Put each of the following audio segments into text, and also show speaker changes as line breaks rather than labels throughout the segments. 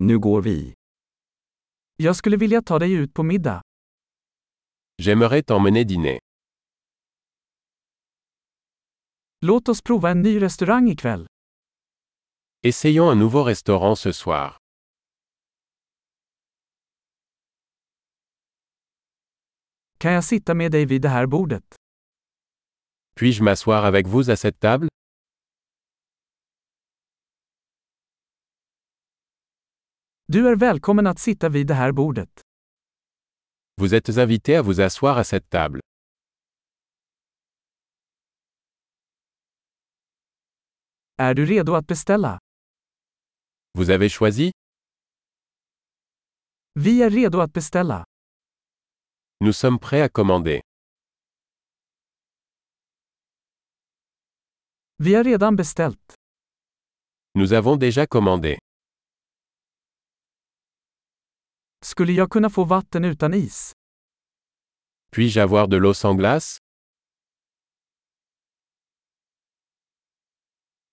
Nu går vi.
Jag skulle vilja ta dig ut på middag.
J'aimerais t'emmener dîner.
Låt oss prova en ny restaurang ikväll.
Essayons un nouveau restaurant ce soir.
Kan jag sitta med dig vid det här bordet?
Puis-je m'asseoir avec vous à cette table
Du är välkommen att sitta vid det här bordet.
Vous êtes invité à vous asseoir à cette table.
Är du redo att beställa?
Vous avez choisi
Vi är redo att beställa.
Nous sommes prêts à commander.
Vi har redan beställt.
Nous avons déjà commandé.
Skulle jag kunna få vatten utan is?
Puis-je avoir de l'eau sans glace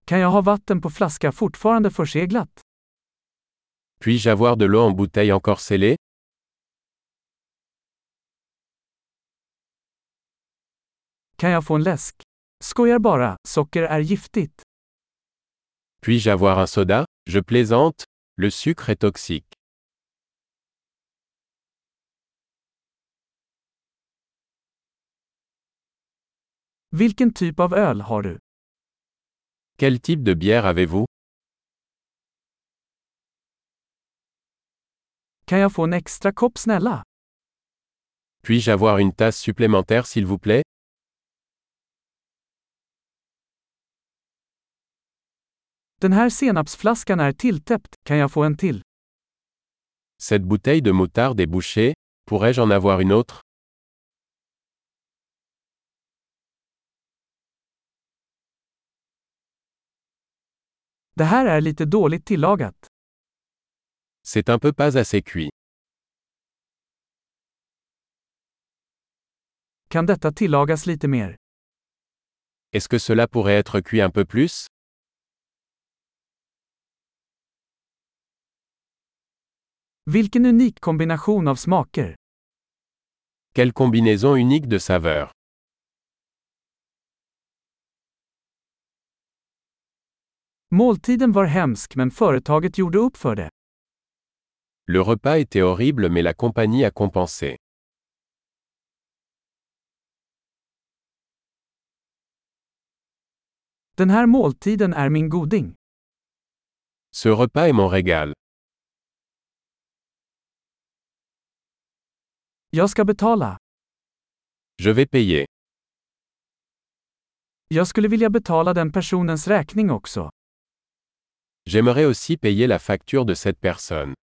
Kan jag ha vatten på flaska fortfarande förseglat?
Puis-je avoir de l'eau en bouteille encore scellée
Kan jag få en läsk? Skojar bara, socker är giftigt.
Puis-je avoir un soda Je plaisante. Le sucre est toxique.
Vilken typ av öl har du?
Quel type de bière avez-vous
Kan jag få en extra kopp snälla?
Puis-je avoir une tasse supplémentaire s'il vous plaît
Den här senapsflaskan är tilltäppt, kan jag få en till?
Cette bouteille de moutarde est bouchée. Pourrais-je en avoir une autre
Det här är lite dåligt tillagat.
C'est un peu pas assez cuit.
Kan detta tillagas lite mer?
Est-ce que cela pourrait être cuit un peu plus
Vilken unik kombination av smaker.
Quelle combinaison unique de saveurs
Måltiden var hemsk men företaget gjorde upp för det.
Le repas était horrible mais la compagnie a compensé.
Den här måltiden är min goding.
Ce repas est mon régal.
Jag ska betala.
Je vais payer.
Jag skulle vilja betala den personens räkning också.
J'aimerais aussi payer la facture de cette personne.